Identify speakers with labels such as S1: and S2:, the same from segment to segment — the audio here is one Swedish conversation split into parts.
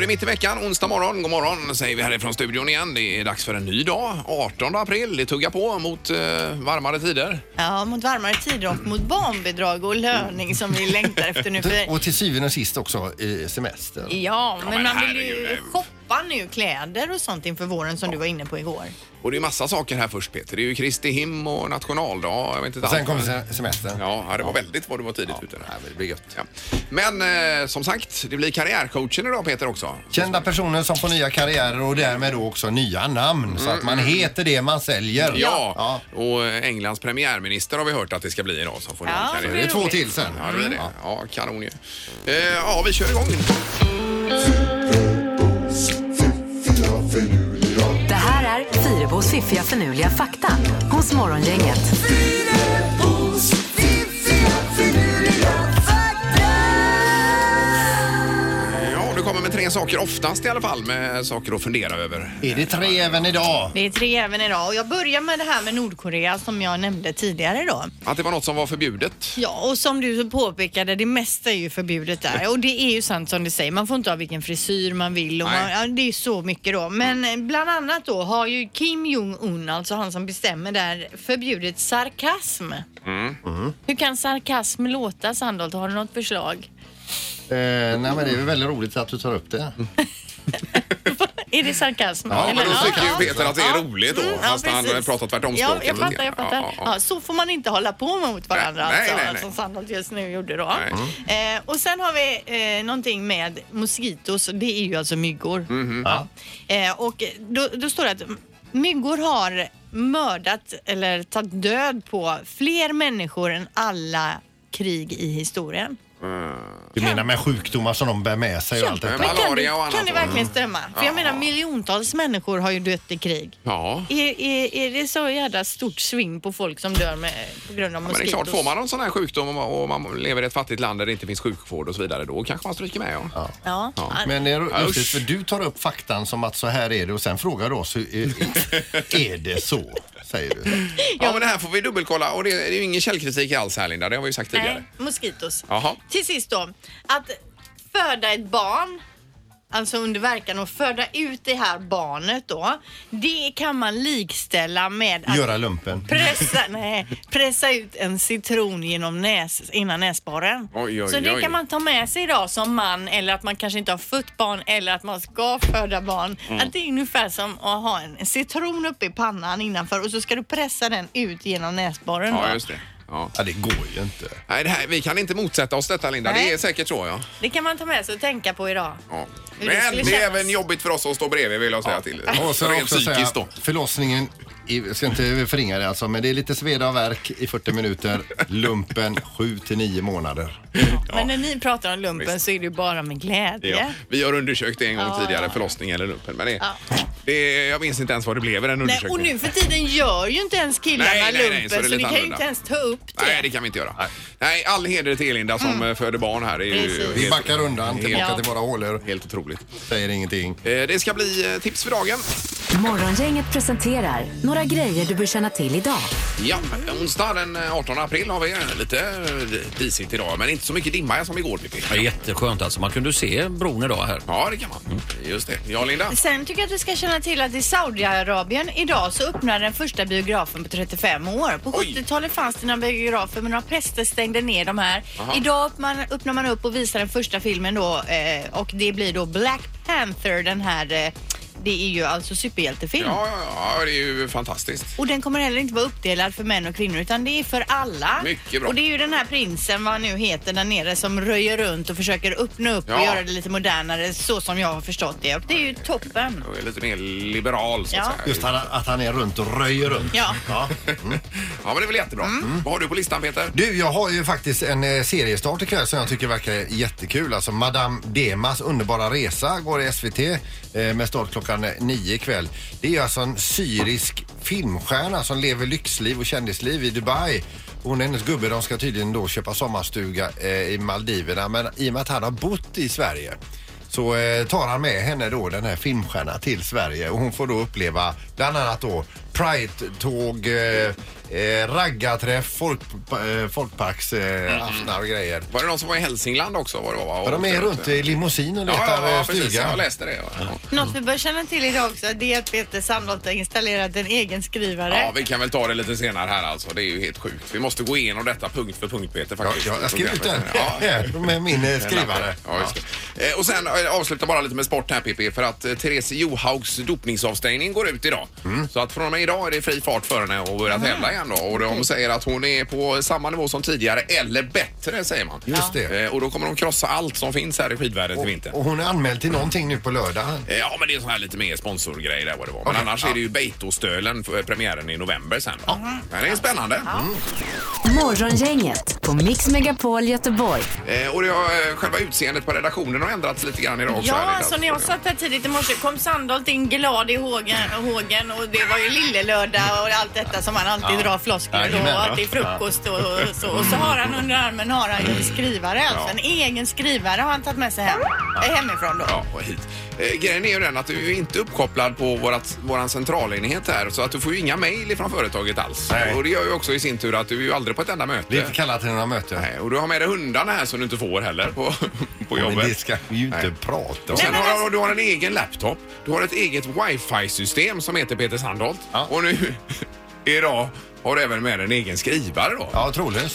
S1: det mitt i veckan, onsdag morgon. God morgon säger vi härifrån studion igen. Det är dags för en ny dag, 18 april. Det tuggar på mot eh, varmare tider.
S2: Ja, mot varmare tider och mot barnbidrag och löning som vi längtar efter nu. För,
S3: Och till syvende och sist också eh, semester.
S2: ja,
S1: men
S2: men man vill
S1: herregud.
S2: ju shoppa nu kläder och sånt inför våren som du var inne på igår.
S1: Och det är massa saker här först Peter. Det är ju Kristi him och nationaldag. Jag vet inte
S3: Och
S1: allt.
S3: sen kommer se- semestern.
S1: Ja, ja, det var väldigt vad du var tidigt ute.
S3: Nej,
S1: Där.
S3: men det blir gött.
S1: Ja. Men eh, som sagt, det blir karriärcoachen idag Peter också.
S3: Kända personer som får nya karriärer och därmed då också nya namn. Så att man heter det man säljer.
S1: Mm, Ja, och eh, Englands premiärminister har vi hört att det ska bli idag som får
S2: Ja,
S1: ny
S2: det
S3: Det
S1: karriär.
S3: är två Mm. till sen.
S1: Ja, det blir det. Ja, kanon ju. Eh, ja, vi kör igång.
S4: Det här är Fyrabos fiffiga förnuliga fakta hos Morgongänget.
S1: Ja, du kommer med tre saker oftast i alla fall med saker att fundera över.
S3: Är det tre även idag?
S2: Det är tre även idag och jag börjar med det här med Nordkorea som jag nämnde tidigare då.
S1: Att det var något som var förbjudet.
S2: Ja, och som du påpekade, det mesta är ju förbjudet där. Och det är ju sant som du säger, man får inte ha vilken frisyr man vill. Och man,
S1: Nej.
S2: ja, det är ju så mycket då. Men eh, bland annat då har ju Kim Jong-Un, alltså han som bestämmer där, förbjudit sarkasm. Hur kan sarkasm låta Sandholt? Har du något förslag?
S3: Eh, nej men det är väl väldigt roligt att du tar upp det.
S1: Mm-hmm.
S2: är det sarkasm?
S3: Ja,
S1: Ja,
S2: Eller-
S1: men då tycker ju
S2: ja.
S1: Peter att det är roligt då,
S2: Mm, ja,
S1: fast han eh,
S2: precis.
S1: pratar tvärtom
S2: Ja,
S1: språket
S2: jag
S1: lite
S2: fattar, jag
S1: grann.
S2: fattar.
S1: Ja,
S2: Ja,
S1: ja, ja.
S2: så får man inte hålla på mot varandra
S1: Nej,
S2: alltså,
S1: nej, nej.
S2: som Sandholt just nu gjorde då.
S1: Nej. Mm.
S2: Eh, och sen har vi eh, någonting med moskitos, det är ju alltså myggor.
S1: Mm.
S2: Ja. Eh, och då, då står det att myggor har mördat eller tagit död på fler människor än alla krig i historien.
S3: Du menar med sjukdomar som de bär med sig och allt
S1: Men
S3: detta?
S2: kan,
S1: malaria och
S2: det-
S1: annat. Mm.
S2: kan det verkligen stämma? För jag menar miljontals människor har ju dött i krig.
S1: Ja.
S2: Är, är, är det så jävla stort sving på folk som dör med, på grund av
S1: Men det är
S2: moskitos?
S1: klart, får man en sån här sjukdom och man- och man lever i ett fattigt land där det inte finns sjukvård och så vidare, då kanske man stryker med. Ja.
S2: Ja.
S3: Men det är lustigt
S1: Usch.
S3: för du tar upp faktan som att så här är det och sen frågar du oss hur är, är det så? Säger du.
S1: Ja, men det här får vi dubbelkolla och det det är ju ingen källkritik alls här Linda, det har vi ju sagt tidigare.
S2: Nej, moskitos.
S1: Jaha.
S2: Till sist då, att föda ett barn Alltså under verkan och föda ut det här barnet då. Det kan man likställa med att
S3: Göra lumpen.
S2: pressa, nej, pressa ut en citron genom näs, innan näsborren.
S1: Oj, oj,
S2: så det
S1: oj.
S2: kan man ta med sig idag som man eller att man kanske inte har fött barn eller att man ska föda barn.
S1: Mm.
S2: Att det är ungefär som att ha en citron uppe i pannan innanför och så ska du pressa den ut genom näsborren.
S1: Ja,
S2: då.
S1: just det. Ja.
S3: Ja, det går ju inte.
S1: Nej, det här, vi kan inte motsätta oss detta Linda,
S2: Nej.
S1: det är säkert så ja.
S2: Det kan man ta med sig och tänka på idag.
S1: ja.
S2: Hur
S1: Men
S2: det
S1: det,
S2: skulle
S1: är
S2: kännas.
S1: även jobbigt för oss att stå bredvid vill jag säga till.
S3: Och så
S1: Rent
S3: också säga,
S1: psykiskt då.
S3: förlossningen, i- jag ska inte förringa det alltså, men det är lite sveda och värk i 40 minuter, lumpen 7 till 9 månader.
S2: Men när ni pratar om lumpen så är det ju bara med glädje.
S1: Ja. Vi har undersökt det en gång
S2: Ja,
S1: tidigare,
S2: ja.
S1: förlossning eller lumpen. Men det,
S2: Ja.
S1: det, jag minns inte ens vad det blev i den
S2: Nej,
S1: undersökningen.
S2: och nu för tiden gör ju inte ens killarna
S1: Nej, nej, nej,
S2: lumpen
S1: så
S2: så,
S1: det är lite
S2: vi kan ju
S1: annorlunda.
S2: inte ens ta upp det.
S1: Nej, det kan vi inte göra. Nej, all heder till Linda som eh, föder barn här. Det är ju
S2: Mm. Precis.
S3: Vi backar undan tillbaka
S2: Ja.
S3: till våra hålor,
S1: helt otroligt.
S3: säger ingenting.
S1: Eh, Det ska bli eh, tips för dagen.
S4: Morgongänget presenterar några grejer du bör känna till idag.
S1: Ja, onsdag den eh, 18 april har vi eh, lite eh, disigt idag, men inte så mycket dimma som igår. Pippi.
S5: Ja, jätteskönt alltså. Man kunde se bron idag här.
S1: Ja, det kan man.
S3: Mm.
S1: Just det. Ja, Linda.
S2: Sen tycker jag att vi ska känna till att i Saudiarabien idag så öppnar den första biografen på 35 år. På
S1: Oj.
S2: 70-talet fanns det några biografer men några präster stängde ner de här.
S1: Aha.
S2: Idag öppnar, öppnar man upp och visar den första filmen då eh, och det blir då Black Panther den här, eh, det är ju alltså superhjältefilm.
S1: Ja, ja, ja, det är ju fantastiskt.
S2: Och den kommer heller inte vara uppdelad för män och kvinnor utan det är för alla.
S1: Mycket bra.
S2: Och det är ju den här prinsen, vad han nu heter där nere, som röjer runt och försöker öppna upp
S1: Ja.
S2: och göra det lite modernare så som jag har förstått det. Och det är ju toppen.
S1: Jag är lite mer liberal, så att
S2: Ja.
S1: säga.
S3: Just han, att han är runt och röjer runt. Mm.
S2: Ja.
S1: Ja, men det är väl jättebra.
S2: Mm.
S1: Vad har du på listan, Peter?
S3: Du, jag har ju faktiskt en eh, seriestart ikväll som jag tycker verkar jättekul. Alltså Madame Demas underbara resa går i SVT eh, med start klockan eh, nio ikväll. Det är ju alltså en syrisk filmstjärna som lever lyxliv och kändisliv i Dubai. Hon och hennes gubbe de ska tydligen då köpa sommarstuga eh, i Maldiverna men i och med att han har bott i Sverige så eh, tar han med henne då den här filmstjärnan till Sverige och hon får då uppleva bland annat då Pride-tåg, eh, eh, raggarträff, folk, eh, folkparksaftnar och grejer.
S1: Var det någon som var i Hälsingland också? Var det, var,
S3: Ja, de är runt i limousin och
S1: ja,
S3: letar
S1: ja,
S3: eh,
S1: ja, precis. Jag
S3: stuga.
S1: läste det. Ja.
S2: Något vi bör känna till idag också det är att Peter Sandholt har installerat en egen skrivare.
S1: Ja, vi kan väl ta det lite senare här alltså. Det är ju helt sjukt. Vi måste gå igenom detta punkt för punkt Peter
S3: Ja,
S1: faktiskt.
S3: jag, jag skrev ut den
S1: Ja,
S3: här med min eh, skrivare.
S1: Ja, just det. Eh, Och sen eh, avsluta bara lite med sport här Pippi för att eh, Therese Johaugs dopningsavstängning går ut idag.
S3: Mm.
S1: Så att från och med idag är det fri fart för henne och börja tävla igen då. Och de säger att hon är på samma nivå som tidigare eller bättre säger man.
S3: Just det.
S1: Eh, Och då kommer de krossa allt som finns här i skidvärlden till vintern.
S3: Och, och hon är anmäld till någonting nu på lördag.
S1: Eh, Ja, men det är sån här lite mer sponsorgrej där vad det var. Men
S3: Okej,
S1: annars
S3: ja.
S1: är det ju Beitostölen, för- eh, premiären i november sen. va? Men det är spännande.
S4: Morgongänget på Mix Megapol Göteborg.
S1: Eh, och det har, eh, själva utseendet på redaktionen har ändrats lite grann idag också.
S2: Ja,
S1: här, lite
S2: alltså när jag
S1: alltså.
S2: satt här tidigt i morse kom Sandholt in glad i hågen, hågen och det var ju lillelördag och allt detta som han alltid drar floskler då
S3: Jajamän,
S2: och
S3: ja.
S2: att det är frukost och, och så. Och så har han under armen har han ju en skrivare alltså. En egen skrivare har han tagit med sig hem, eh, hemifrån då.
S1: Ja, och hit. Eh, grejen är ju den att du är ju inte uppkopplad på vårat, våran centralenhet här så att du får ju inga mejl från företaget alls.
S3: Nej.
S1: Och det gör ju också i sin tur att du är ju aldrig på ett enda möte.
S3: Blir inte kallad till några möten.
S1: Nej, och du har med dig hundarna här som du inte får heller på, på
S3: Men
S1: jobbet.
S3: det ska vi ju inte
S1: Nej.
S3: prata om.
S1: Och sen
S2: Nej, men alltså-
S1: har du, du har en egen laptop, du har ett eget wifi-system som heter Peter Sandholt
S3: Ja.
S1: och nu idag har du även med dig en egen skrivare då.
S3: Ja, troligen.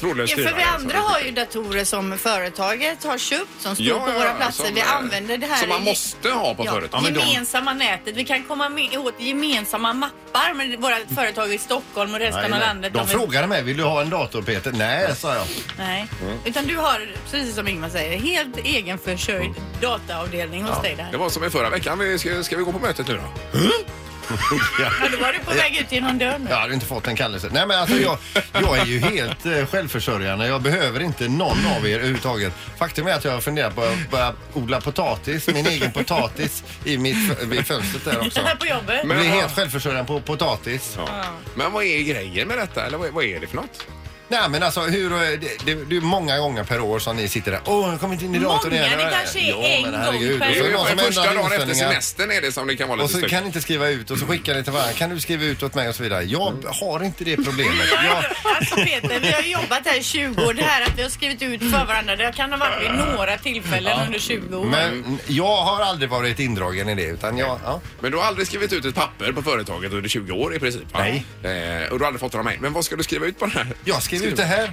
S1: Trådlös
S2: Ja, för
S1: skrivare. alltså.
S2: vi andra
S1: Så-
S2: har ju datorer som företaget har köpt som står
S1: Ja,
S2: på
S1: ja,
S2: våra
S1: ja,
S2: platser.
S1: som,
S2: vi
S1: eh,
S2: använder det här
S1: Som man
S2: i-
S1: måste ha på
S2: Ja,
S1: företaget. Ja, men de-
S2: gemensamma nätet. Vi kan komma med, åt gemensamma mappar med våra
S1: Mm.
S2: företag i Stockholm och resten av
S3: Nej, nej.
S2: landet.
S3: De
S2: Om vi-
S3: frågade mig, vill du ha en dator Peter? Nej, sa jag.
S2: Nej.
S1: Mm.
S2: Utan du har, precis som Ingmar säger, helt egenförsörjd dataavdelning hos dig
S1: Mm. Det
S2: där.
S1: var som i förra veckan. Vi Ska, ska vi gå på mötet nu då?
S2: Ja, då var du på väg ut genom dörren.
S3: Jag hade inte fått en kallelse. Nej men alltså jag, jag är ju helt eh, självförsörjande. Jag behöver inte någon av er överhuvudtaget. Faktum är att jag funderar på att börja odla potatis, min egen potatis i mitt fö- vid fönstret där också.
S2: Här på jobbet.
S3: Jag
S1: Men
S3: blir
S1: vad-
S3: helt självförsörjande på potatis.
S1: Men vad är grejen med detta? Eller vad, vad är det för något?
S3: Nej men alltså hur, eh, det, det, det är många gånger per år som ni sitter där. Åh, jag kommer inte in i datorn
S2: Många,
S3: igen.
S2: det kanske är
S3: Ja,
S2: en
S3: men
S2: gång
S3: herregud.
S2: per
S3: Och
S1: Det
S3: så
S1: är
S2: år.
S1: ju
S3: någon som
S1: bara första
S3: ändrar
S1: dagen efter
S3: inställningar.
S1: semestern är det som det kan vara
S3: Och
S1: lite
S3: så
S1: stökigt.
S3: kan ni inte skriva ut och så skickar ni till varandra. Kan du skriva ut åt mig och så vidare. Jag har inte det problemet. Jag,
S2: Alltså Peter, vi har jobbat här i 20 år. Det här att vi har skrivit ut för varandra, det kan ha varit vid några tillfällen under 20 år.
S1: Mm.
S3: men jag har aldrig varit indragen i det utan jag... Ja.
S1: Men du har aldrig skrivit ut ett papper på företaget under 20 år i princip? va?
S3: Nej.
S1: Eh, och du har aldrig fått några mejl. Men vad ska du skriva ut på den här?
S3: Jag skrev ut det här.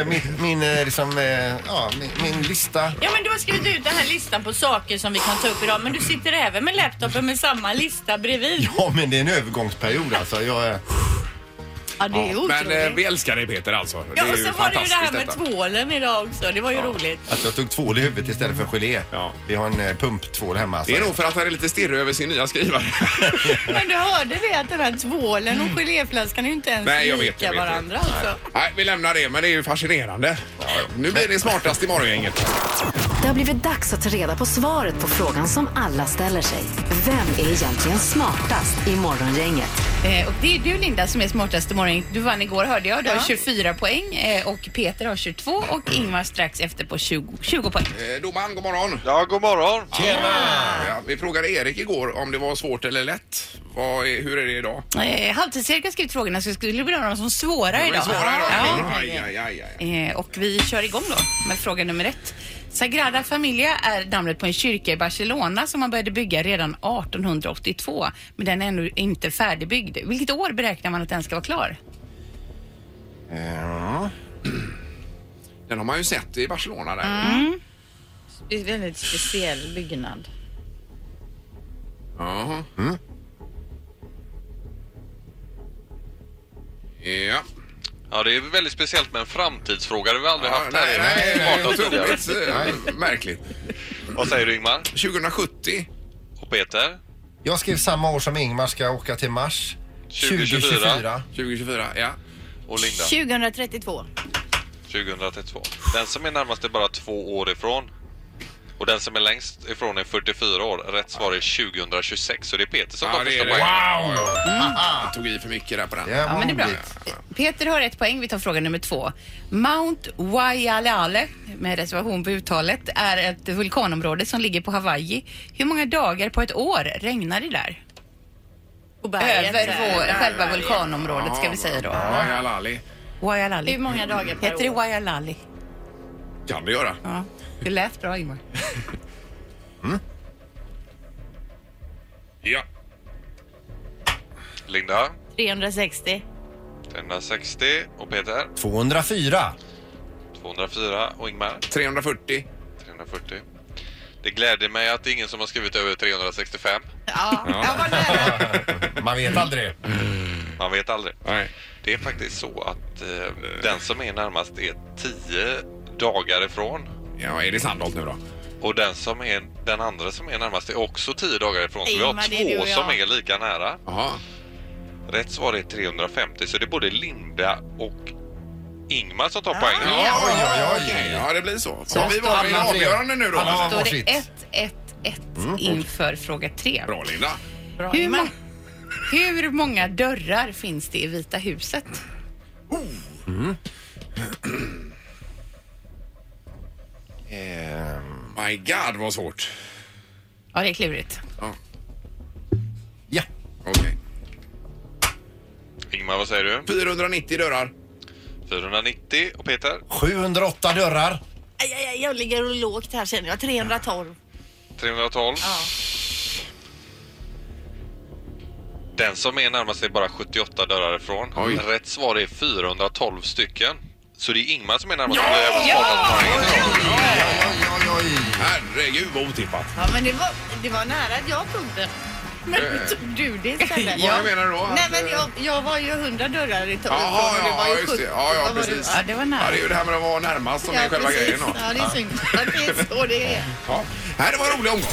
S3: Eh, min, min, eh, liksom, eh, ja, min, min lista.
S2: Ja men du har skrivit ut den här listan på saker som vi kan ta upp idag men du sitter även med laptopen med samma lista bredvid.
S3: Ja, men det är en övergångsperiod alltså. Jag, eh,
S2: Ja det är otroligt.
S1: Men eh, vi älskar dig Peter alltså.
S2: Ja
S1: är
S2: och
S1: ju
S2: så var det ju det här
S1: fantastiskt
S2: med
S1: detta.
S2: tvålen idag också. Det var ju roligt.
S3: att jag tog tvål i huvudet istället för gelé.
S1: Ja.
S3: Vi har en eh, pumptvål hemma. Alltså.
S1: Det är nog för att han är lite stirrig över sin nya skrivare.
S2: Men du hörde det att den här tvålen och geléflaskan är ju inte ens
S1: Nej, jag vet,
S2: lika
S1: jag vet.
S2: varandra alltså.
S1: Nej, vi lämnar det, men det är ju fascinerande. Nu blir det smartast i morgongänget.
S4: Det har blivit dags att ta reda på svaret på frågan som alla ställer sig. Vem är egentligen smartast i Morgongänget?
S6: Eh, Och det är du Linda som är smartast i morgon. Du vann igår hörde jag. Du har 24 poäng eh, och Peter har 22 och Ingmar strax efter på 20, 20 poäng.
S1: Eh, domaren, god morgon.
S7: Ja, god morgon.
S1: Ja, vi frågade Erik igår om det var svårt eller lätt. Vad är, hur är det idag?
S6: Eh, Halvtids-Erik har skrivit frågorna så jag skulle vilja ha dem som svåra
S1: Det är
S6: idag.
S1: svårare idag.
S6: Ja.
S1: Aj, aj, aj, aj.
S6: Eh, Och vi kör igång då med fråga nummer ett. Sagrada Familia är namnet på en kyrka i Barcelona som man började bygga redan 1882 men den är ännu inte färdigbyggd. Vilket år beräknar man att den ska vara klar?
S1: Den har man ju sett i Barcelona där.
S2: Det är en väldigt speciell byggnad.
S1: Jaha. Ja.
S7: Ja, det är väldigt speciellt med en framtidsfråga. Det har vi aldrig
S1: Ja,
S7: haft här
S1: nej, nej,
S7: inne.
S1: nej,
S7: Smartast tidigare.
S1: otroligt eh, märkligt.
S7: Vad säger du Ingmar?
S1: 2070.
S7: Och Peter?
S3: Jag skrev samma år som Ingmar ska åka till Mars.
S7: 2024.
S3: 2024.
S1: 2024, ja.
S7: Och Linda?
S2: 2032.
S7: 2032. Den som är närmast är bara två år ifrån. Och den som är längst ifrån är 44 år. Rätt svar är 2026. Så det är Peter som
S1: ja
S7: tar
S1: det
S7: första
S1: är det.
S7: poängen.
S1: Jag tog i för mycket där på den.
S3: Ja,
S6: Ja, men det är bra. Peter har ett poäng. Vi tar fråga nummer två. Mount Waialeale, med reservation på uttalet, är ett vulkanområde som ligger på Hawaii. Hur många dagar på ett år regnar det där?
S8: på berget.
S6: Över vår, själva vulkanområdet ska vi säga då.
S1: Ja, ja, Lali.
S8: Hur
S6: Waialali.
S8: många dagar per
S6: Heter det
S8: år?
S6: Waialali?
S1: Kan det göra.
S6: Ja. Det lät bra Ingmar.
S1: Ja.
S7: Linda,
S2: 360.
S7: 360 och Peter,
S3: 204.
S7: 204 och Ingmar,
S1: 340.
S7: 340. Det gläder mig att det är ingen som har skrivit över 365.
S2: Ja, jag var nära.
S3: Man vet aldrig.
S7: Man vet aldrig.
S1: Nej.
S7: Det är faktiskt så att eh, den som är närmast är 10 dagar ifrån.
S1: Ja, är det Sandholt nu då?
S7: Och den, som är, den andra som är närmast är också 10 dagar ifrån. Så vi
S2: Ingmar, det är
S7: har två
S2: du och jag.
S7: som är lika nära.
S1: Jaha.
S7: Rätt svar är 350, så det är både Linda och Ingmar som tar poäng.
S1: Ja, oj, oj, oj. Ja, det blir så. Ja, vi var i
S3: Alla tre.
S1: avgörande nu då.
S3: Alla har
S6: Då är
S3: varsitt.
S6: det 1, 1, 1 inför fråga 3.
S1: Mm, Bra Linda.
S6: Hur, må- hur många dörrar finns det i Vita huset?
S1: My God vad svårt.
S6: Ja, det är klurigt.
S1: Ja,
S3: Ja.
S1: okej.
S7: Ingmar, vad säger du?
S1: 490 dörrar.
S7: 490 och Peter?
S3: 708 dörrar.
S2: Aj, aj, aj, jag ligger och lågt här känner jag. 312.
S7: 312. Den som är närmast är bara 78 dörrar ifrån.
S1: Oj.
S7: Rätt svar är 412 stycken. Så det är Ingmar som är närmast. Ja! Ja!
S3: Oj, oj, oj.
S1: Herregud vad otippat.
S2: Ja, men det var, det var nära att jag tog den. Men nu tog du det istället.
S1: Eh. Vad menar du då?
S2: Nej,
S1: Att,
S2: men
S1: eh,
S2: jag, jag var ju 100 dörrar i taget
S1: Jaha,
S2: och det var
S1: ja,
S2: ju
S1: just
S2: 70.
S1: det. Ja, ja,
S2: Vad var det?
S1: precis.
S6: Ja, det var
S1: Ja,
S6: nära.
S1: det är ju det här med att vara närmast som är själva
S2: precis.
S1: grejen då.
S2: Ja, det är synd att det är så det är.
S1: Ja. Nej, det var en rolig omgång.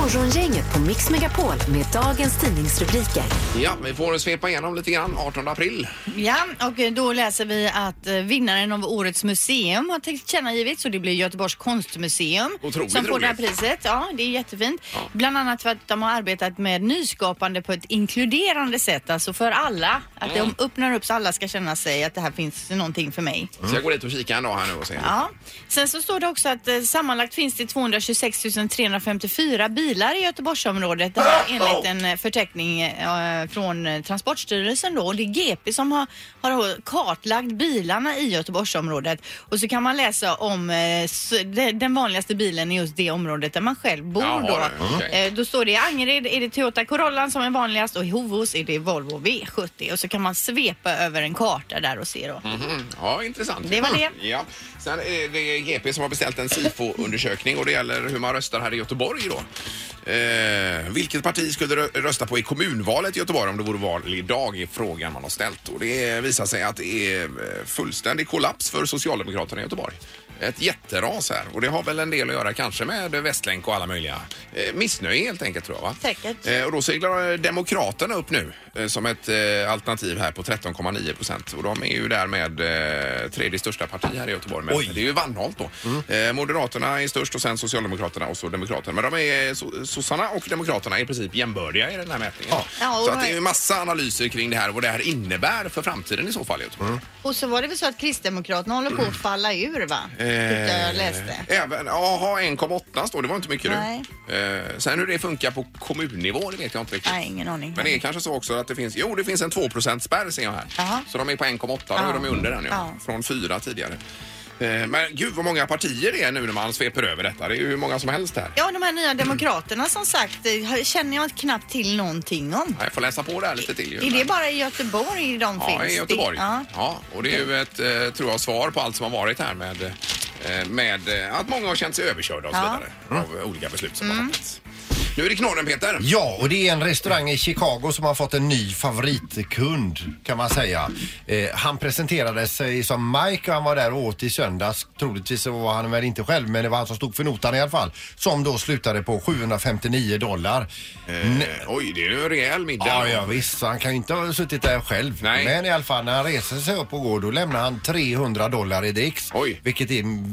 S4: Morgongänget på Mix Megapol med dagens tidningsrubriker.
S1: Ja, vi får svepa igenom lite grann. 18 april.
S2: Ja, och då läser vi att eh, vinnaren av årets museum har tillkännagivits och det blir Göteborgs konstmuseum
S1: Otroligt
S2: som får det här
S1: roligt.
S2: priset. Ja, det är jättefint. Bland annat för att de har arbetat med nyskapande på ett inkluderande sätt, alltså för alla. Att de öppnar upp så alla ska känna sig att det här finns någonting för mig.
S1: Så jag går dit och kikar en dag här nu och ser.
S2: Ja. Sen så står det också att eh, sammanlagt finns det 226 354 bilar i Göteborgsområdet. Det här är enligt en eh, förteckning eh, från eh, Transportstyrelsen då. Och det är GP som har, har kartlagt bilarna i Göteborgsområdet. Och så kan man läsa om eh, s- de- den vanligaste bilen i just det området där man själv bor
S1: Jaha,
S2: då.
S1: det, okej.
S2: Eh, Då står det i Angered är det Toyota Corollan som är vanligast och i Hovås är det Volvo V70. Och så kan man svepa över en karta där och se då.
S1: Mm, ja, intressant.
S2: Det var det.
S1: Ja. Sen är det GP som har beställt en SIFO-undersökning och det gäller hur man röstar här i Göteborg då. Eh, vilket parti skulle rö- rösta på i kommunvalet i Göteborg om det vore val idag i frågan man har ställt. Och det visar sig att det är eh, fullständig kollaps för Socialdemokraterna i Göteborg. Ett jätteras här och det har väl en del att göra kanske med Västlänk och alla möjliga eh, missnöje helt enkelt tror jag va?
S2: Säkert.
S1: Eh, och då seglar eh, Demokraterna upp nu eh, som ett eh, alternativ här på 13,9 procent. Och de är ju därmed eh, tredje största parti här i Göteborg. Men
S3: Oj.
S1: det är ju Vanholt då. Eh, Moderaterna är störst och sen Socialdemokraterna och så Demokraterna. Men de är, eh, so- sossarna och Demokraterna är i princip jämbördiga i den här mätningen.
S2: Ja, och
S1: så att det
S2: vad-
S1: är ju massa analyser kring det här och vad det här innebär för framtiden i så fall i Göteborg.
S2: Och så var det väl så att Kristdemokraterna håller på att falla ur va?
S1: Eh.
S2: Tyckte jag läste.
S1: Även, jaha, 1,8 står det. var inte mycket
S2: Nej.
S1: nu. Eh, sen hur det funkar på kommunnivå, det vet jag inte riktigt.
S2: Nej, ingen aning.
S1: Men det är kanske så också att det finns, jo det finns en 2%-spärr ser jag här.
S2: Jaha.
S1: Så de är på 1,8, då är
S2: Ja.
S1: de ju under den ja.
S2: Ja.
S1: Från 4 tidigare. Eh, Men gud vad många partier det är nu när man sveper över detta. Det är ju hur många som helst här.
S2: Ja, de här nya demokraterna som sagt eh, känner jag knappt till någonting om.
S1: Jag får läsa på det här lite till. ju.
S2: Är det bara i Göteborg de finns?
S1: Ja, i Göteborg.
S2: Det- Ja.
S1: Ja, och det är ju ett, eh, tror jag, svar på allt som har varit här med, eh, med eh, att många har känt sig överkörda och så
S2: Ja. Mm.
S1: vidare. Av eh, olika beslut som har fattats. Nu är det knorren Peter.
S3: Mm. Ja, och det är en restaurang i Chicago som har fått en ny favoritkund kan man säga. Eh, han presenterade sig som Mike och han var där och åt i söndags. Troligtvis så var han väl inte själv men det var han som stod för notan i alla fall. Som då slutade på 759 dollar.
S1: Eh.
S3: N-
S1: Oj, det är ju en rejäl middag.
S3: Ja, ja visst. Så han kan ju inte ha suttit där själv.
S1: Nej.
S3: Men i alla fall när han reser sig upp och går då lämnar han 300 dollar i dricks.
S1: Oj.
S3: Vilket är en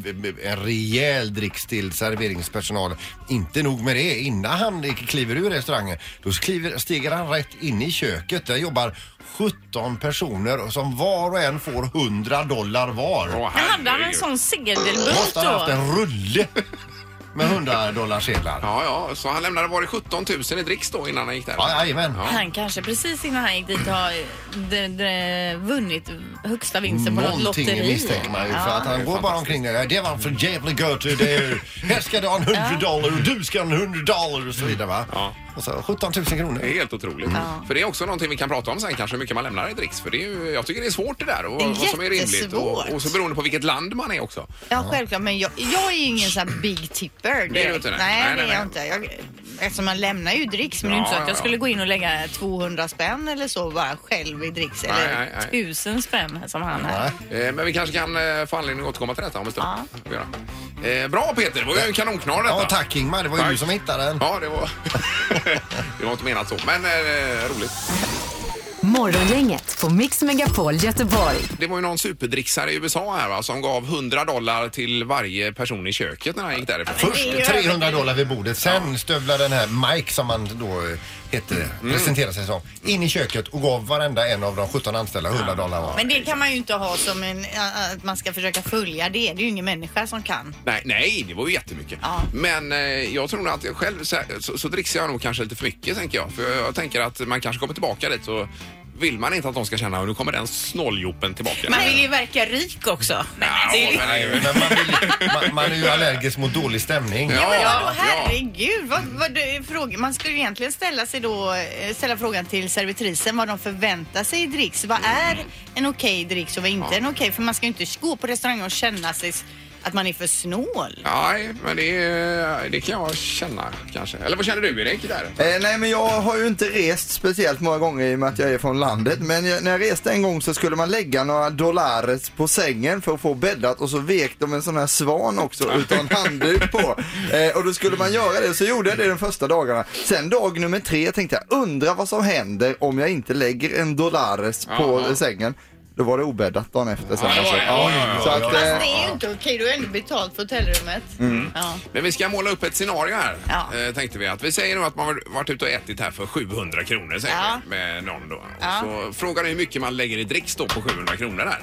S3: en rejäl dricks till serveringspersonalen. Inte nog med det. Innan han kliver ur restaurangen då kliver, stiger han rätt in i köket. Där jobbar 17 personer som var och en får 100 dollar var.
S1: Åh,
S8: Men hade han en
S1: herregud.
S8: sån segelbåt
S3: Måste han haft
S8: då?
S3: en rulle. med 100 dollar sedlar. Ja,
S1: Ja, ja, så han lämnade var det 17 000 i dricks då innan han gick där?
S3: jajamän.
S8: Han kanske precis innan han gick dit har eh, d- d- vunnit högsta vinsten på något
S3: Någonting
S8: lotteri.
S3: misstänker man ju för att han går bara omkring där. Det var en för jävla gott. Det är, här ska du ha en 100 dollar och du ska ha en 100 dollar och så vidare va.
S1: Ja.
S3: Och så 17 000 kronor.
S1: Det är helt otroligt.
S2: Mm.
S1: För det är också någonting vi kan prata om sen kanske, hur mycket man lämnar i dricks. För det är ju, jag tycker det är svårt det där och
S2: Det är
S1: vad som är rimligt. Och,
S2: jättesvårt.
S1: och så beroende på vilket land man är också.
S2: Ja, självklart. Men jag, jag är ingen sån här big tipper.
S1: Det är du inte, nej.
S2: nej.
S1: Nej,
S2: Nej, det
S1: nej,
S2: är jag
S1: nej.
S2: inte. Jag, eftersom man lämnar ju dricks. Men det är inte
S1: Ja,
S2: så att
S1: ja, ja.
S2: jag skulle gå in och lägga 200 spänn eller så bara själv i dricks. Eller,
S1: Nej, nej, nej.
S8: Tusen spänn som han här.
S3: Nej.
S1: Eh, Men vi kanske kan eh, få anledning att återkomma till detta om en stund. Får vi göra. Eh, Bra Peter, det var ju en kanonknar detta.
S3: Ja, tack Ingmar. Det var ju
S1: Tack.
S3: du som hittade den.
S1: Ja, det var, det var inte menat så, men eh, roligt.
S4: Morgongänget på Mix Megapol Göteborg.
S1: Det var ju någon superdricksare i USA här va, som gav 100 dollar till varje person i köket när han gick därifrån.
S3: Först 300 dollar vid bordet, sen stövlar den här Mike som han då eh, hette,
S1: Mm.
S3: presenterar sig som, in i köket och gav varenda en av de 17 anställda 100 dollar var.
S2: Men det kan man ju inte ha som en, ä- att man ska försöka följa det. Det är ju ingen människa som kan.
S1: Nej, nej, det var ju jättemycket.
S2: Ja.
S1: Men eh, jag tror nog att jag själv så, här- så, så dricksar jag nog kanske lite för mycket tänker jag. För jag, jag tänker att man kanske kommer tillbaka dit så vill man inte att de ska känna att nu kommer den snolljopen tillbaka.
S6: Man vill ju verka rik också.
S1: Ja,
S6: det är-
S1: men det är ju-
S3: Men man, vill, man, man är ju allergisk mot dålig stämning.
S1: Ja,
S2: Vadå, herregud. Vad, vad det är fråga- man skulle ju egentligen ställa, sig då, eh, ställa frågan till servitrisen vad de förväntar sig i dricks. Vad
S1: Mm.
S2: är en okej dricks och vad är inte en okej? För man ska ju inte gå på restaurang och känna sig s- att man är för snål.
S1: Nej, men det, är- det kan jag känna kanske. Eller vad känner du Erik? Där?
S9: Eh, nej men jag har ju inte rest speciellt många gånger i och med att jag är från landet. Men jag, när jag reste en gång så skulle man lägga några dollar på sängen för att få bäddat och så vek de en sån här svan också utan handduk på. Eh, och då skulle man göra det och så gjorde jag det de första dagarna. Sen dag nummer tre tänkte jag undra vad som händer om jag inte lägger en dollar på
S1: Jaha.
S9: sängen. Då var det obäddat dagen efter sen.
S1: Ja, det var
S9: alltså.
S1: det.
S9: Ja,
S1: Oj, oj, oj.
S9: så att, eh,
S2: Fast Alltså, det är ju inte okej. Du har ändå betalt för hotellrummet.
S1: Mm.
S2: Ja.
S1: Men vi ska måla upp ett scenario här,
S2: Ja.
S1: eh, tänkte vi. Att vi säger nu att man har varit ute och ätit här för 700 kronor säger
S2: Ja.
S1: vi, med någon då. Och
S2: Ja.
S1: Så frågan är hur mycket man lägger i dricks då på 700 kronor där.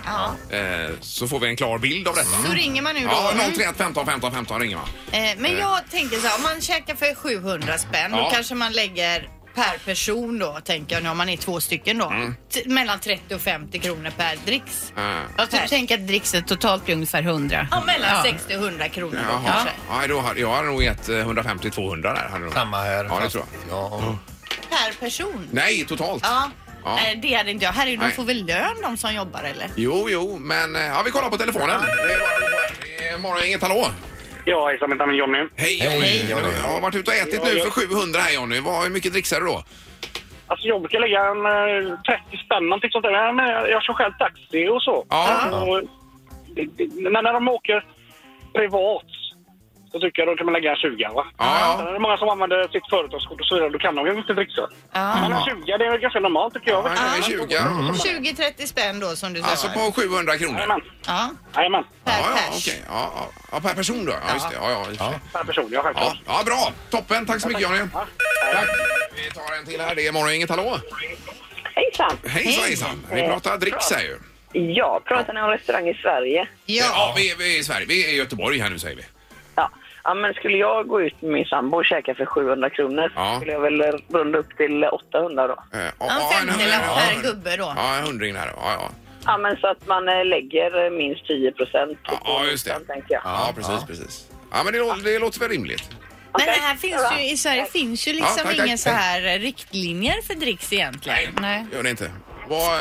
S2: Ja.
S1: Eh, Så får vi en klar bild av detta.
S2: Så ringer man nu då.
S1: Mm. Ja, 031 15 15 15 ringer man.
S2: Eh, Men jag tänker så här, om man käkar för 700 spänn
S1: Ja.
S2: då kanske man lägger per person då, tänker jag nu om man är två stycken då. T- mellan 30 och 50 kronor per dricks.
S1: Mm. Eh,
S6: Jag typ tänker att drickset totalt blir ungefär 100.
S2: Ja, mellan 60 och 100 kronor då
S1: Jaha.
S2: kanske.
S1: Ja. då hade, jag hade nog gett eh, 150-200 där. hade nog.
S3: Samma här.
S1: Ja, det
S3: fast-
S1: tror
S3: Ja.
S2: Per person.
S1: Nej, totalt.
S2: Ja.
S1: Ja.
S2: Eh, Det hade inte jag. Herregud,
S1: Nej.
S2: de får väl lön de som jobbar eller?
S1: Jo, jo, men eh, ja, vi kollar på telefonen. Det är- det är Morgongänget, hallå!
S10: Ja, hejsan, mitt namn är Jonny.
S1: Hej, Jonny! Jag har varit ute och ätit nu för 700 här Jonny. Vad- Hur mycket dricksar du då?
S10: Alltså jag brukar lägga en eh, 30 spänn någonting sånt där. Men jag, jag kör själv taxi och så.
S1: Ja.
S10: Och, det, det, när, när de åker privat så tycker jag då kan man lägga en 20 va?
S1: Ja, ja.
S10: Det är många som använder sitt företagskort och så vidare. Då kan de ju inte dricksa.
S2: Ja.
S10: Men en 20 det är väl ganska normalt tycker jag. Mm.
S1: Ja, det är 20.
S2: 20-30 spänn då som du sa.
S1: Alltså på 700 kronor?
S10: Jajamän.
S2: Ja,
S10: Jajamän.
S2: per
S1: ja, ja,
S2: pers.
S1: okej. Ja, ja. ja, per person då? Ja, just det. Ja, ja, i och för sig.
S10: Per person, ja
S1: ja.
S10: självklart.
S1: ja bra! Toppen! Tack så mycket Jonny.
S10: Ja.
S1: Tack. Vi tar en till här. Det är Morgongänget, hallå!
S11: Hejsan!
S1: Hejsan hejsan! Vi pratar dricks här ju.
S11: Ja, pratar ni om restaurang i Sverige?
S1: Ja, vi, vi är i Sverige. Vi är i Göteborg här nu säger vi. Eh,
S11: Ja. ja, men skulle jag gå ut med min sambo och käka för 700 kronor
S1: Ja.
S11: så skulle jag väl runda upp till 800 då.
S1: Eh, ja,
S2: Ja,
S1: en-
S2: 50
S1: ja,
S2: per
S1: en-
S2: gubbe då.
S1: Ja, en hundring där. Ja, ja.
S11: Ja, men så att man eh, lägger eh, minst 10 procent.
S1: ja just det.
S11: Tänker jag.
S1: Ja, precis, precis. Ja, men det, lå- det låter väl rimligt.
S2: Men
S11: Okej,
S2: det här finns
S11: bra.
S2: ju, i Sverige finns ju
S1: Ja,
S2: liksom
S1: tack, tack.
S2: ingen så här eh, riktlinjer
S8: För dricks egentligen.
S2: Nej.
S1: Gör det inte. Vad,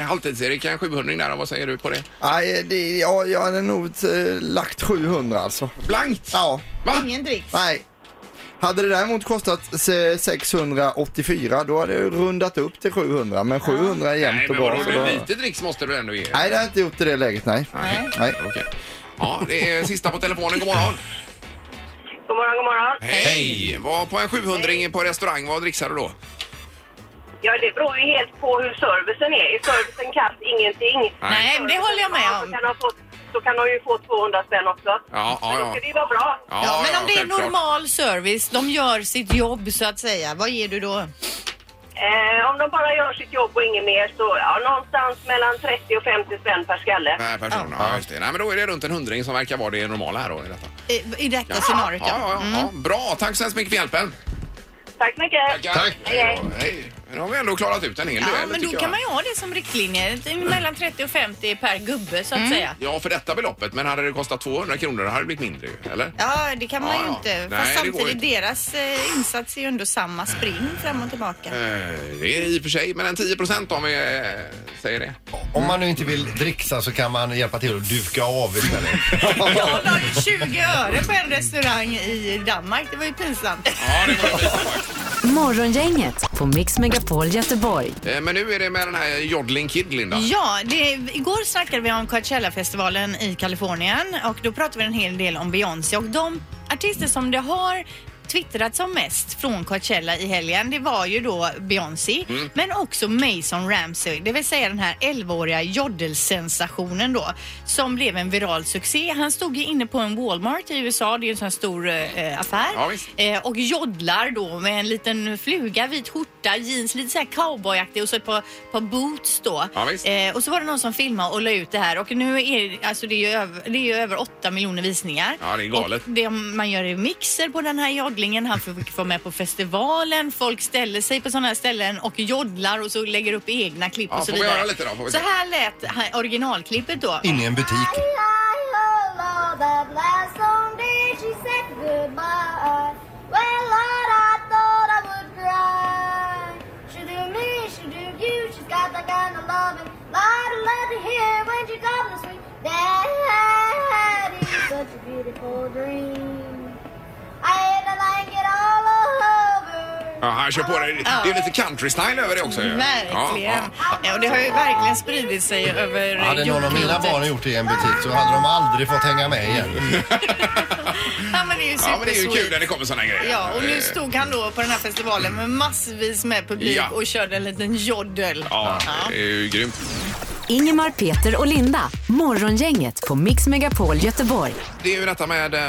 S1: eh, halvtids-Erik, en 700 där. Vad säger du på det?
S9: nej, det, ja, jag hade nog eh, lagt 700 alltså.
S1: Blankt!
S9: Ja.
S1: Va?
S2: Ingen dricks.
S9: Nej. Hade det däremot kostat eh, 684 då hade jag rundat upp till 700 men 700 är
S1: Nej,
S9: jämnt och
S1: men
S9: bra.
S1: vadå?
S9: så
S1: Du,
S9: då-
S1: Lite dricks måste du ändå ge.
S9: Nej, det har jag inte gjort i det läget, nej.
S1: Nej.
S9: nej.
S1: Okej. Ja, det är sista på telefonen. God morgon.
S11: God morgon, god morgon.
S1: Hej! Var på en 700 på restaurang. Vad dricksade du då?
S11: Ja, det beror ju helt på hur servicen är. Är servicen kass, ingenting.
S2: Nej, men det håller jag med om.
S11: ha fått, så kan de ju få 200 spänn också.
S1: Ja, ja, ja.
S11: ju vara bra.
S2: Ja, men om det är
S1: självklart.
S2: normal service, de gör sitt jobb så att säga, vad ger du då?
S11: Eh, om de bara gör sitt jobb och inget mer så ja, någonstans mellan 30 och 50 spänn per skalle.
S1: Per person. Ja, just det. Nej, men då är det runt en hundring som verkar vara det normala här då. I detta.
S2: eh, i- i detta scenariot.
S1: Ja, ja, ja, ja. Bra, tack så hemskt mycket för hjälpen.
S11: Tack så mycket.
S1: Tack.
S11: Hej, hej.
S1: Hej. Nu har vi ändå klarat ut en hel
S8: Ja,
S1: duell
S8: men
S1: tycker
S8: då
S1: jag.
S8: kan man ju ha det som riktlinje. Det är Mellan 30 och 50 per gubbe så att
S1: Mm.
S8: säga.
S1: Ja, för detta beloppet. Men hade det kostat 200 kronor hade det blivit mindre ju, eller?
S2: Ja, det kan man
S1: Ja,
S2: ju
S1: ja.
S2: inte.
S1: Nej,
S2: Fast
S1: det går
S2: samtidigt, deras eh, insats är ju ändå samma spring fram och tillbaka.
S1: Eh, Det är i och för sig, men en 10 procent om vi eh, säger det.
S3: Om man nu inte vill dricksa så kan man hjälpa till att duka av istället.
S2: Jag la ju 20 öre på en restaurang i Danmark. Det var ju pinsamt.
S4: Morgongänget på Mix Megapol Göteborg.
S1: Eh, Men nu är det med den här Jodling Kid, Linda.
S2: Ja, det, igår snackade vi om Coachella-festivalen i Kalifornien och då pratade vi en hel del om Beyoncé och de artister som det har twittrat som mest från Coachella i helgen, det var ju då Beyoncé,
S8: Mm.
S2: men också Mason Ramsey, det vill säga den här 11-åriga jodelsensationen då, som blev en viral succé. Han stod ju inne på en Walmart i USA, det är ju en sån här stor eh, affär,
S8: Ja, visst.
S2: eh, och joddlar då med en liten fluga, vit skjorta, jeans, lite så här cowboyaktig och så ett par, par boots då.
S8: Ja, visst.
S2: Eh, och så var det någon som filmade och la ut det här och nu är det- alltså det är ju över, det är ju över 8 miljoner visningar.
S1: Ja, det är galet.
S2: Och det man gör är mixer på den här joddlingen. Han fick vara med på festivalen. Folk ställer sig på sådana här ställen och joddlar och så lägger upp egna klipp
S3: Ja,
S2: och så
S3: får vi
S2: vidare.
S3: höra lite då? Får vi
S2: så
S3: se.
S2: här lät här- originalklippet då.
S3: Inne i en butik.
S12: Lord, that last Sunday she said goodbye. Well, Lord, I thought I would cry. She do me, she do you, she's got that kind of loving. Lord, I love to hear when she calls me sweet. Daddy, such a beautiful dream. I had to like it all over.
S1: Ja, han kör på det. Det är lite country-style över det också. ju.
S2: Mm, Verkligen.
S1: Ja,
S2: Ja, och det har ju verkligen spridit sig över
S3: Hade någon av mina
S2: jordklotet.
S3: barn gjort det i en butik så hade de aldrig fått hänga med igen.
S2: Ja, men det är ju
S1: ja. ja, men det är ju kul
S2: supersweet.
S1: när det kommer såna här grejer.
S2: Ja, och nu
S1: Eh,
S2: stod han då på den här festivalen med massvis med publik
S1: Ja.
S2: och körde en liten joddel.
S1: Ja, det är ju grymt.
S4: Ingemar, Peter och Linda. Morgongänget på Mix Megapol Göteborg.
S1: Det är ju detta med eh,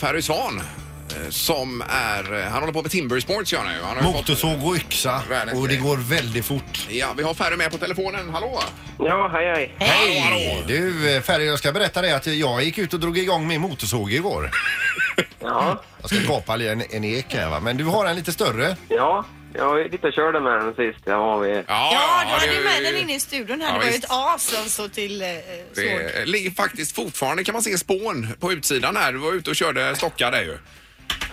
S1: Ferry Svan eh, som är... eh, Han håller på med Timbersports gör han ju. Han har ju fått-
S3: Motorsåg och yxa och det går väldigt fort.
S1: Ja, vi har Ferry med på telefonen. Hallå!
S13: Ja, hej, hej.
S1: Hej! Hallå, hallå.
S3: Du eh, Ferry, jag ska berätta dig att jag gick ut och drog igång min motorsåg igår.
S13: Ja.
S3: Jag ska kapa en, en ek här va, men du har en lite större.
S13: Ja, jag var ute och körde med den sist. Jag var vid...
S2: Ja, du hade ju med den inne i studion här.
S1: Ja,
S2: det var ju
S1: visst.
S2: ett as alltså till eh, såg.
S1: Det ligger faktiskt fortfarande kan man se spån på utsidan här. Du var ute och körde stockar där ju.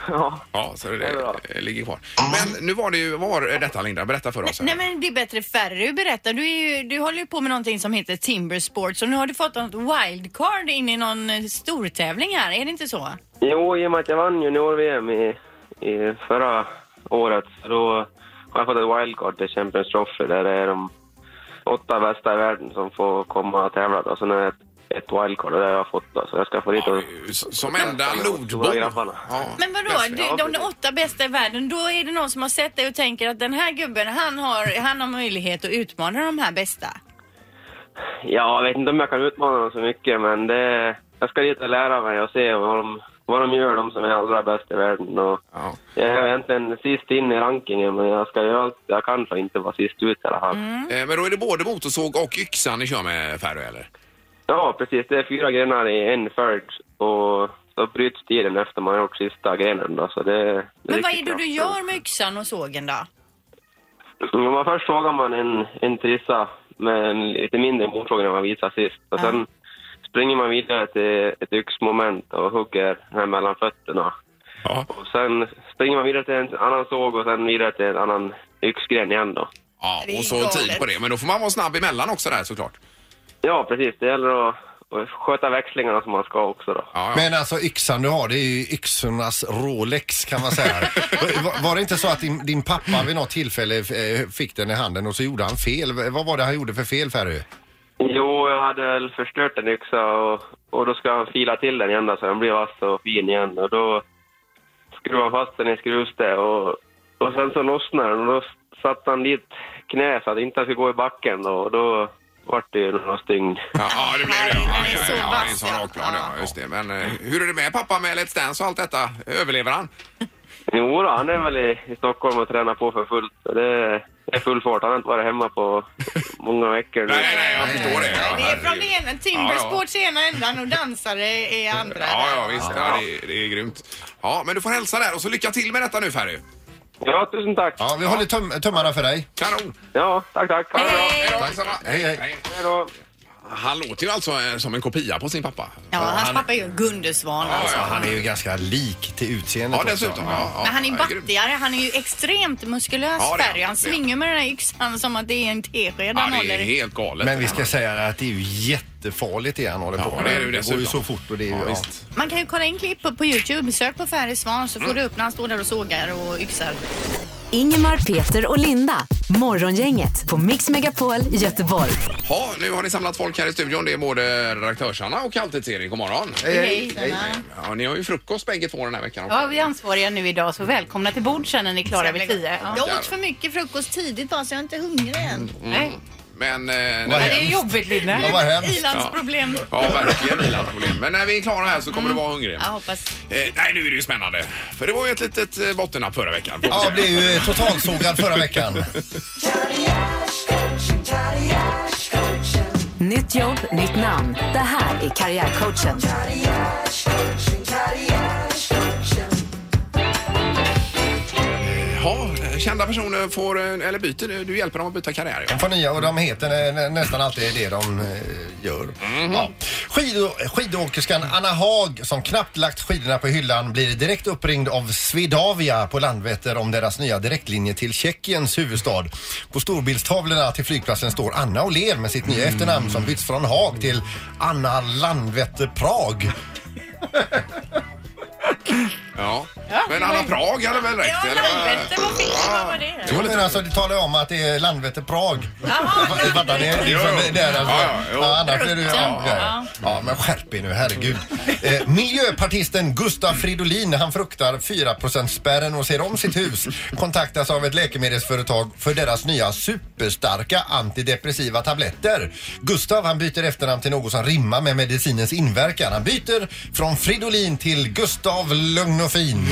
S13: Ja.
S1: Ja, så det, eh, ligger kvar. Men nu var det ju, vad var detta Linda? Berätta för oss. här.
S2: Nej men det är bättre Ferry berättar. Du, är ju, du håller ju på med någonting som heter Timber Sports och nu har du fått något wildcard in i någon eh, stortävling här, är det inte så?
S13: Jo, i och med att jag vann junior-VM i, i förra året så då har jag fått ett wildcard till Champions Trophy där det är de åtta bästa i världen som får komma och tävla. Då. Sen är det ett, ett wildcard och det har jag fått. Då. Så jag ska få dit och...
S1: Eh, Som enda nordbo. Ja.
S2: Men vadå, du, de, åtta bästa i världen, då är det någon som har sett dig och tänker att den här gubben, han har, han har möjlighet att utmana de här bästa.
S13: Ja, jag vet inte om jag kan utmana dem så mycket, men det, jag ska dit och lära mig och se vad de, vad de gör, de som är allra bäst i världen. Och Jag är egentligen sist in i rankingen, men jag ska göra allt jag kan för att inte vara sist ut i alla fall.
S1: Eh, Men då är det både motorsåg och yxa ni kör med Ferry eller?
S13: Ja, precis. Det är fyra grenar i en följd och så bryts tiden efter man har gjort sista grenen. Då, så det, det är
S2: Men vad är
S13: riktigt
S2: det
S13: bra.
S2: du gör med yxan och sågen då?
S13: Ja, men först sågar Mm, man en, en trissa med en lite mindre motorsåg än man visade sist. Och sen springer man vidare till ett yxmoment och hugger den här mellan fötterna. Och sen springer man vidare till en annan såg och sen vidare till en annan yxgren igen då.
S1: Ja,
S13: Det är
S1: och så tid
S13: galet.
S1: på det. Men då får man vara snabb emellan också där såklart.
S13: Ja, precis. Det gäller att, att sköta växlingarna som man ska också då.
S3: Men alltså yxan du har, det är ju yxornas Rolex kan man säga. Var- Var det inte så att din, din pappa vid något tillfälle eh, fick den i handen och så gjorde han fel? Vad var det han gjorde för fel Ferry?
S13: Jo, jag hade väl förstört en yxa och, och då ska han fila till den igen då, så den blir vass och fin igen. Och då skruvar han fast den i skruvstäd och, och sen så lossnar den och då satte han dit knä så att inte den skulle gå i backen då, och då vart det ju några stygn.
S1: Ja, det blev det. Ja, ja, ja, ja, det är en sån rakplan, ja. Just det. Men eh, hur är det med pappa med Let's Dance och allt detta? Överlever han?
S13: Jo då, han är väl i, i Stockholm och tränar på för fullt. Så det är full fart. Han har inte varit hemma på många veckor nu.
S1: Nej, nej, jag förstår det. Ja,
S8: Det är från det
S1: herregud.
S8: ena, Timbersports i ena ändan och dansare i andra.
S1: Ja, ja, visst. Ja, det, är, det är grymt. Ja, men du får hälsa där och så lycka till med detta nu Ferry.
S13: Ja, tusen tack.
S3: Ja, vi håller tum tummarna för dig.
S1: Kanon.
S13: Ja, tack, tack.
S1: Tack samma.
S3: Hej, hej.
S1: då. Han låter ju alltså eh, som en kopia på sin pappa.
S8: Ja, hans pappa är ju Gundersvan alltså.
S3: Han är ju ganska lik till utseendet
S1: Ja, dessutom,
S3: också.
S1: ja.
S8: Men han är
S1: ja, grym.
S8: battigare, han är ju extremt muskulös
S1: Ja, det är
S8: Ferry. Han
S1: han. Det är
S8: svänger med den här yxan som att det är en tesked han
S1: Ja, det
S8: håller
S1: är
S8: i.
S1: helt galet.
S3: Men vi ska säga att det är ju jättefarligt det han håller på
S1: Ja, det är
S3: Det
S1: det ju
S3: går ju
S1: dessutom.
S3: så fort och det är ju... Ja,
S8: Man kan ju kolla in klipp på, på Youtube. Sök på Ferry Svan så får
S1: Mm.
S8: du upp när han står där och sågar och yxar.
S4: Ingemar, Peter och Linda. Morgongänget på Mix Megapol Göteborg.
S1: Ja, nu har ni samlat folk här i studion. Det är både redaktörs-Anna och Halvtids-Erik. God morgon.
S8: Hej, hej. Hej.
S1: Ja, ni har ju frukost bägge två den här veckan också.
S6: Ja, vi är ansvariga nu idag så välkomna till bord sen när ni är klara vid tio.
S8: Jag åt för mycket frukost tidigt bara så jag är inte hungrig
S1: Mm.
S8: än.
S1: Nej. Men... Eh,
S6: Ja,
S1: när-
S6: det är jobbigt Linne.
S1: Ja, vad hemskt.
S8: Ilandsproblem.
S1: Ja, verkligen ilandsproblem. Men när vi är klara här så kommer du vara hungrig.
S8: Jag hoppas.
S1: Eh, nej, nu är det ju spännande. För det var ju ett litet eh, bottennapp förra veckan. får vi
S3: Ja,
S1: säga.
S3: blev ju eh, totalsågad förra veckan.
S4: Nytt jobb, nytt namn. Det här är Karriärcoachen.
S1: Ja, kända personer får... eh, Eller byter. Du du hjälper dem att byta karriär. Ja.
S3: De får nya och de heter eh, nä- nästan alltid det de eh, gör. Ja. Skidå- skidåkerskan Anna Haag som knappt lagt skidorna på hyllan blir direkt uppringd av Swedavia på Landvetter om deras nya direktlinje till Tjeckiens huvudstad. På storbilstavlorna till flygplatsen står Anna och ler med sitt nya efternamn som bytts från Haag till Anna Landvetter Prag.
S1: ja. Men Anna Prag hade väl rätt? eller vad?
S3: Jo, men alltså, det talar ju om att det är Landvetter Prag. Fattar ni? Det är
S1: Jo, jo.
S3: från där alltså.
S1: Ja, ja, jo.
S3: ja, annars är det ju... Ja, ja.
S1: Ja.
S3: ja, men skärp er nu, herregud. Eh, miljöpartisten Gustav Fridolin, han fruktar 4%-spärren och ser om sitt hus. Kontaktas av ett läkemedelsföretag för deras nya superstarka antidepressiva tabletter. Gustav, han byter efternamn till något som rimmar med medicinens inverkan. Han byter från Fridolin till Gustav Lugnofin.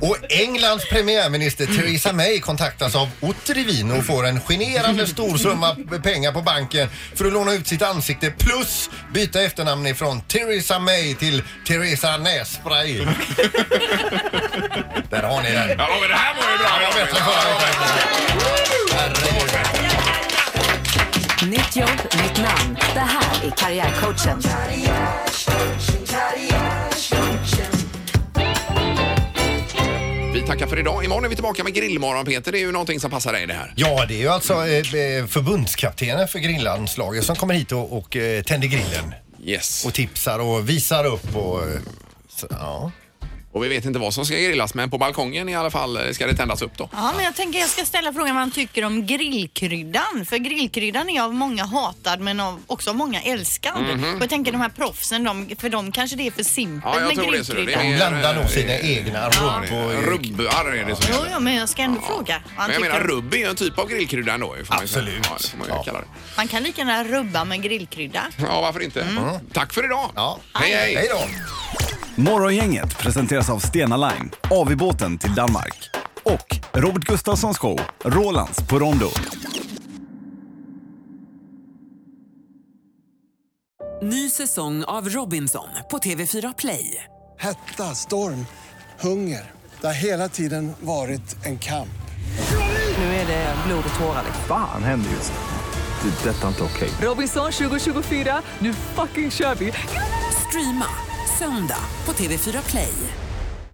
S3: Och Englands premiärminister Theresa May kontaktas av Otrivin och får en generande stor summa pengar på banken för att låna ut sitt ansikte plus byta efternamn ifrån Theresa May till Theresa Nässpray. Där har ni den.
S1: Ja, men det här var ju bra. Det var bättre förra veckan.
S4: Nytt jobb, nytt namn. Det här är Karriärcoachen.
S1: Vi tackar för idag. Imorgon är vi tillbaka med grillmorgon, Peter. Det är ju någonting som passar dig det här.
S3: Ja, det är ju alltså eh, förbundskaptenen för grillandslaget som kommer hit och, och eh, tänder grillen.
S1: Yes.
S3: Och tipsar och visar upp och... eh, Så, ja.
S1: Och vi vet inte vad som ska grillas, men på balkongen i alla fall eh, ska det tändas upp då.
S2: Ja, men jag tänker jag ska ställa frågan vad han tycker om grillkryddan. För grillkryddan är av många hatad men av, också av många älskad.
S1: Mhm.
S2: Och jag tänker de här proffsen, de, för de kanske det är för simpelt
S1: Ja, jag
S2: med
S1: tror det. Så det
S2: grillkryddan.
S3: De blandar nog sina egna rubb och...
S1: Eh, Rubbar är det som
S2: Jo,
S1: heter.
S2: jo, men jag ska ändå fråga. vad Han
S1: Men jag
S2: tycker
S1: menar,
S2: om-
S1: rubb är ju en typ av grillkrydda ändå. ju, Får man ju säga.
S3: Absolut.
S1: Ja, det får man ju kalla det.
S2: Man kan lika gärna rubba med grillkrydda.
S1: ja, varför inte? Tack för idag.
S3: Ja.
S1: Hej, hej.
S3: Hej då!
S14: Morgongänget presenteras av Stena Line, AV-båten till Danmark och Robert Gustafssons show Rolands på Rondo.
S15: Ny säsong av Robinson på TV4 Play.
S16: Hetta, storm, hunger. Det har hela tiden varit en kamp.
S15: Nu är det blod och tårar. liksom.
S14: Fan händer just nu. det. är Detta är inte okej.
S15: Robinson 2024, nu fucking kör vi! Streama söndag på TV4 Play.